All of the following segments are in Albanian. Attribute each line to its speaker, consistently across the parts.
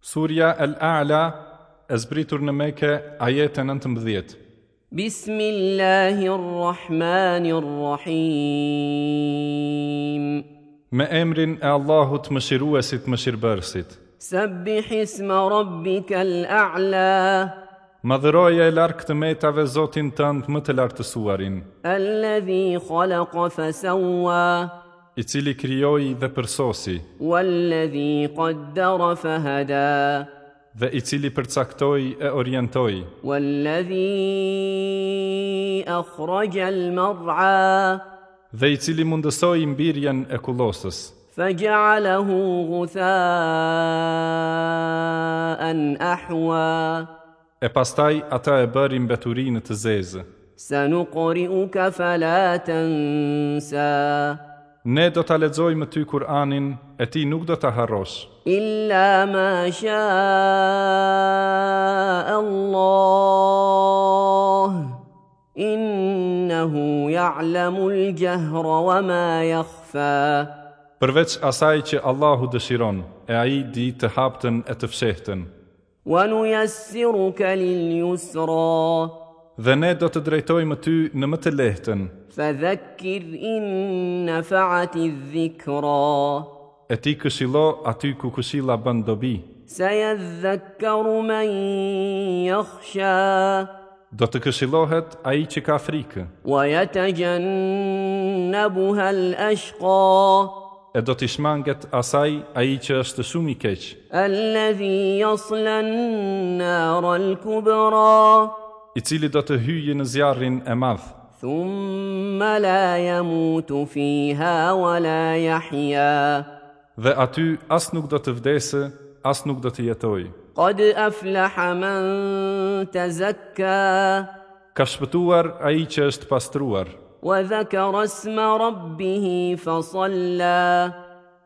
Speaker 1: Surja El A'la e zbritur në Mekë ajete 19.
Speaker 2: بسم الله الرحمن الرحيم
Speaker 1: Me emrin e Allahut mëshiruesit mëshirbërësit.
Speaker 2: سبح اسم ربك الأعلى
Speaker 1: Madhëroje e larkë të metave Zotin tënd më të lartësuarin,
Speaker 2: الذي خلق فسوى
Speaker 1: i cili krijoi dhe përsosi,
Speaker 2: والذي قدر فهدى
Speaker 1: dhe i cili përcaktoi e orientoi,
Speaker 2: والذي أخرج المرعى
Speaker 1: dhe i cili mundësoi mbirjen e kullosës,
Speaker 2: فجعله غثاء أحوى
Speaker 1: e pastaj ata e bëri mbeturinë të zezë.
Speaker 2: سنقرئك فلا تنسى
Speaker 1: Ne do ta lexojmë ty Kur'anin, e ti nuk do ta harrosh,
Speaker 2: إلا ما شاء الله إنه يعلم الجهر وما يخفى
Speaker 1: përveç asaj që Allahu dëshiron, e ai di të haptën e të fshehtën.
Speaker 2: ونيسرك لليسرى
Speaker 1: Dhe ne do të drejtojmë ty në më të lehtën,
Speaker 2: فذكر إن نفعت الذكرى
Speaker 1: e ti këshillo aty ku këshilla bën dobi.
Speaker 2: سيذكر من يخشى
Speaker 1: Do të këshillohet ai që ka frikë,
Speaker 2: ويتجنبها الأشقى
Speaker 1: e do t'i shmanget asaj ai që është shumë i keq,
Speaker 2: الذي يصلى النار الكبرى
Speaker 1: i cili do të hyjë në zjarrin e madh,
Speaker 2: ثم لا يموت فيها ولا يحيا
Speaker 1: dhe aty as nuk do të vdesë, as nuk do të jetojë.
Speaker 2: قد أفلح من تزكى
Speaker 1: Ka shpëtuar ai që është pastruar,
Speaker 2: وذكر اسم ربه فصلى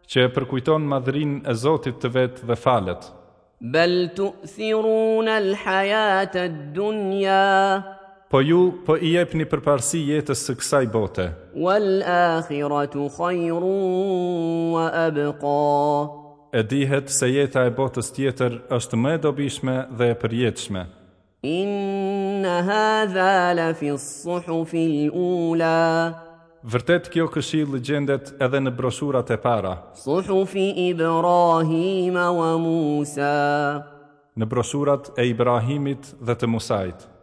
Speaker 1: që e përkujton madhrin e Zotit të vetë dhe falet.
Speaker 2: بل تؤثرون الحياة الدنيا
Speaker 1: Po ju po i jepni përparësi jetës së kësaj bote,
Speaker 2: والآخرة خير وأبقى
Speaker 1: e dihet se jeta e botës tjetër është më e dobishme dhe e përjetshme.
Speaker 2: إن هذا لفي الصحف الأولى
Speaker 1: Vërtet kjo këshillë gjendet edhe në broshurat e para,
Speaker 2: صحف إبراهيم وموسى
Speaker 1: në broshurat e Ibrahimit dhe të Musait.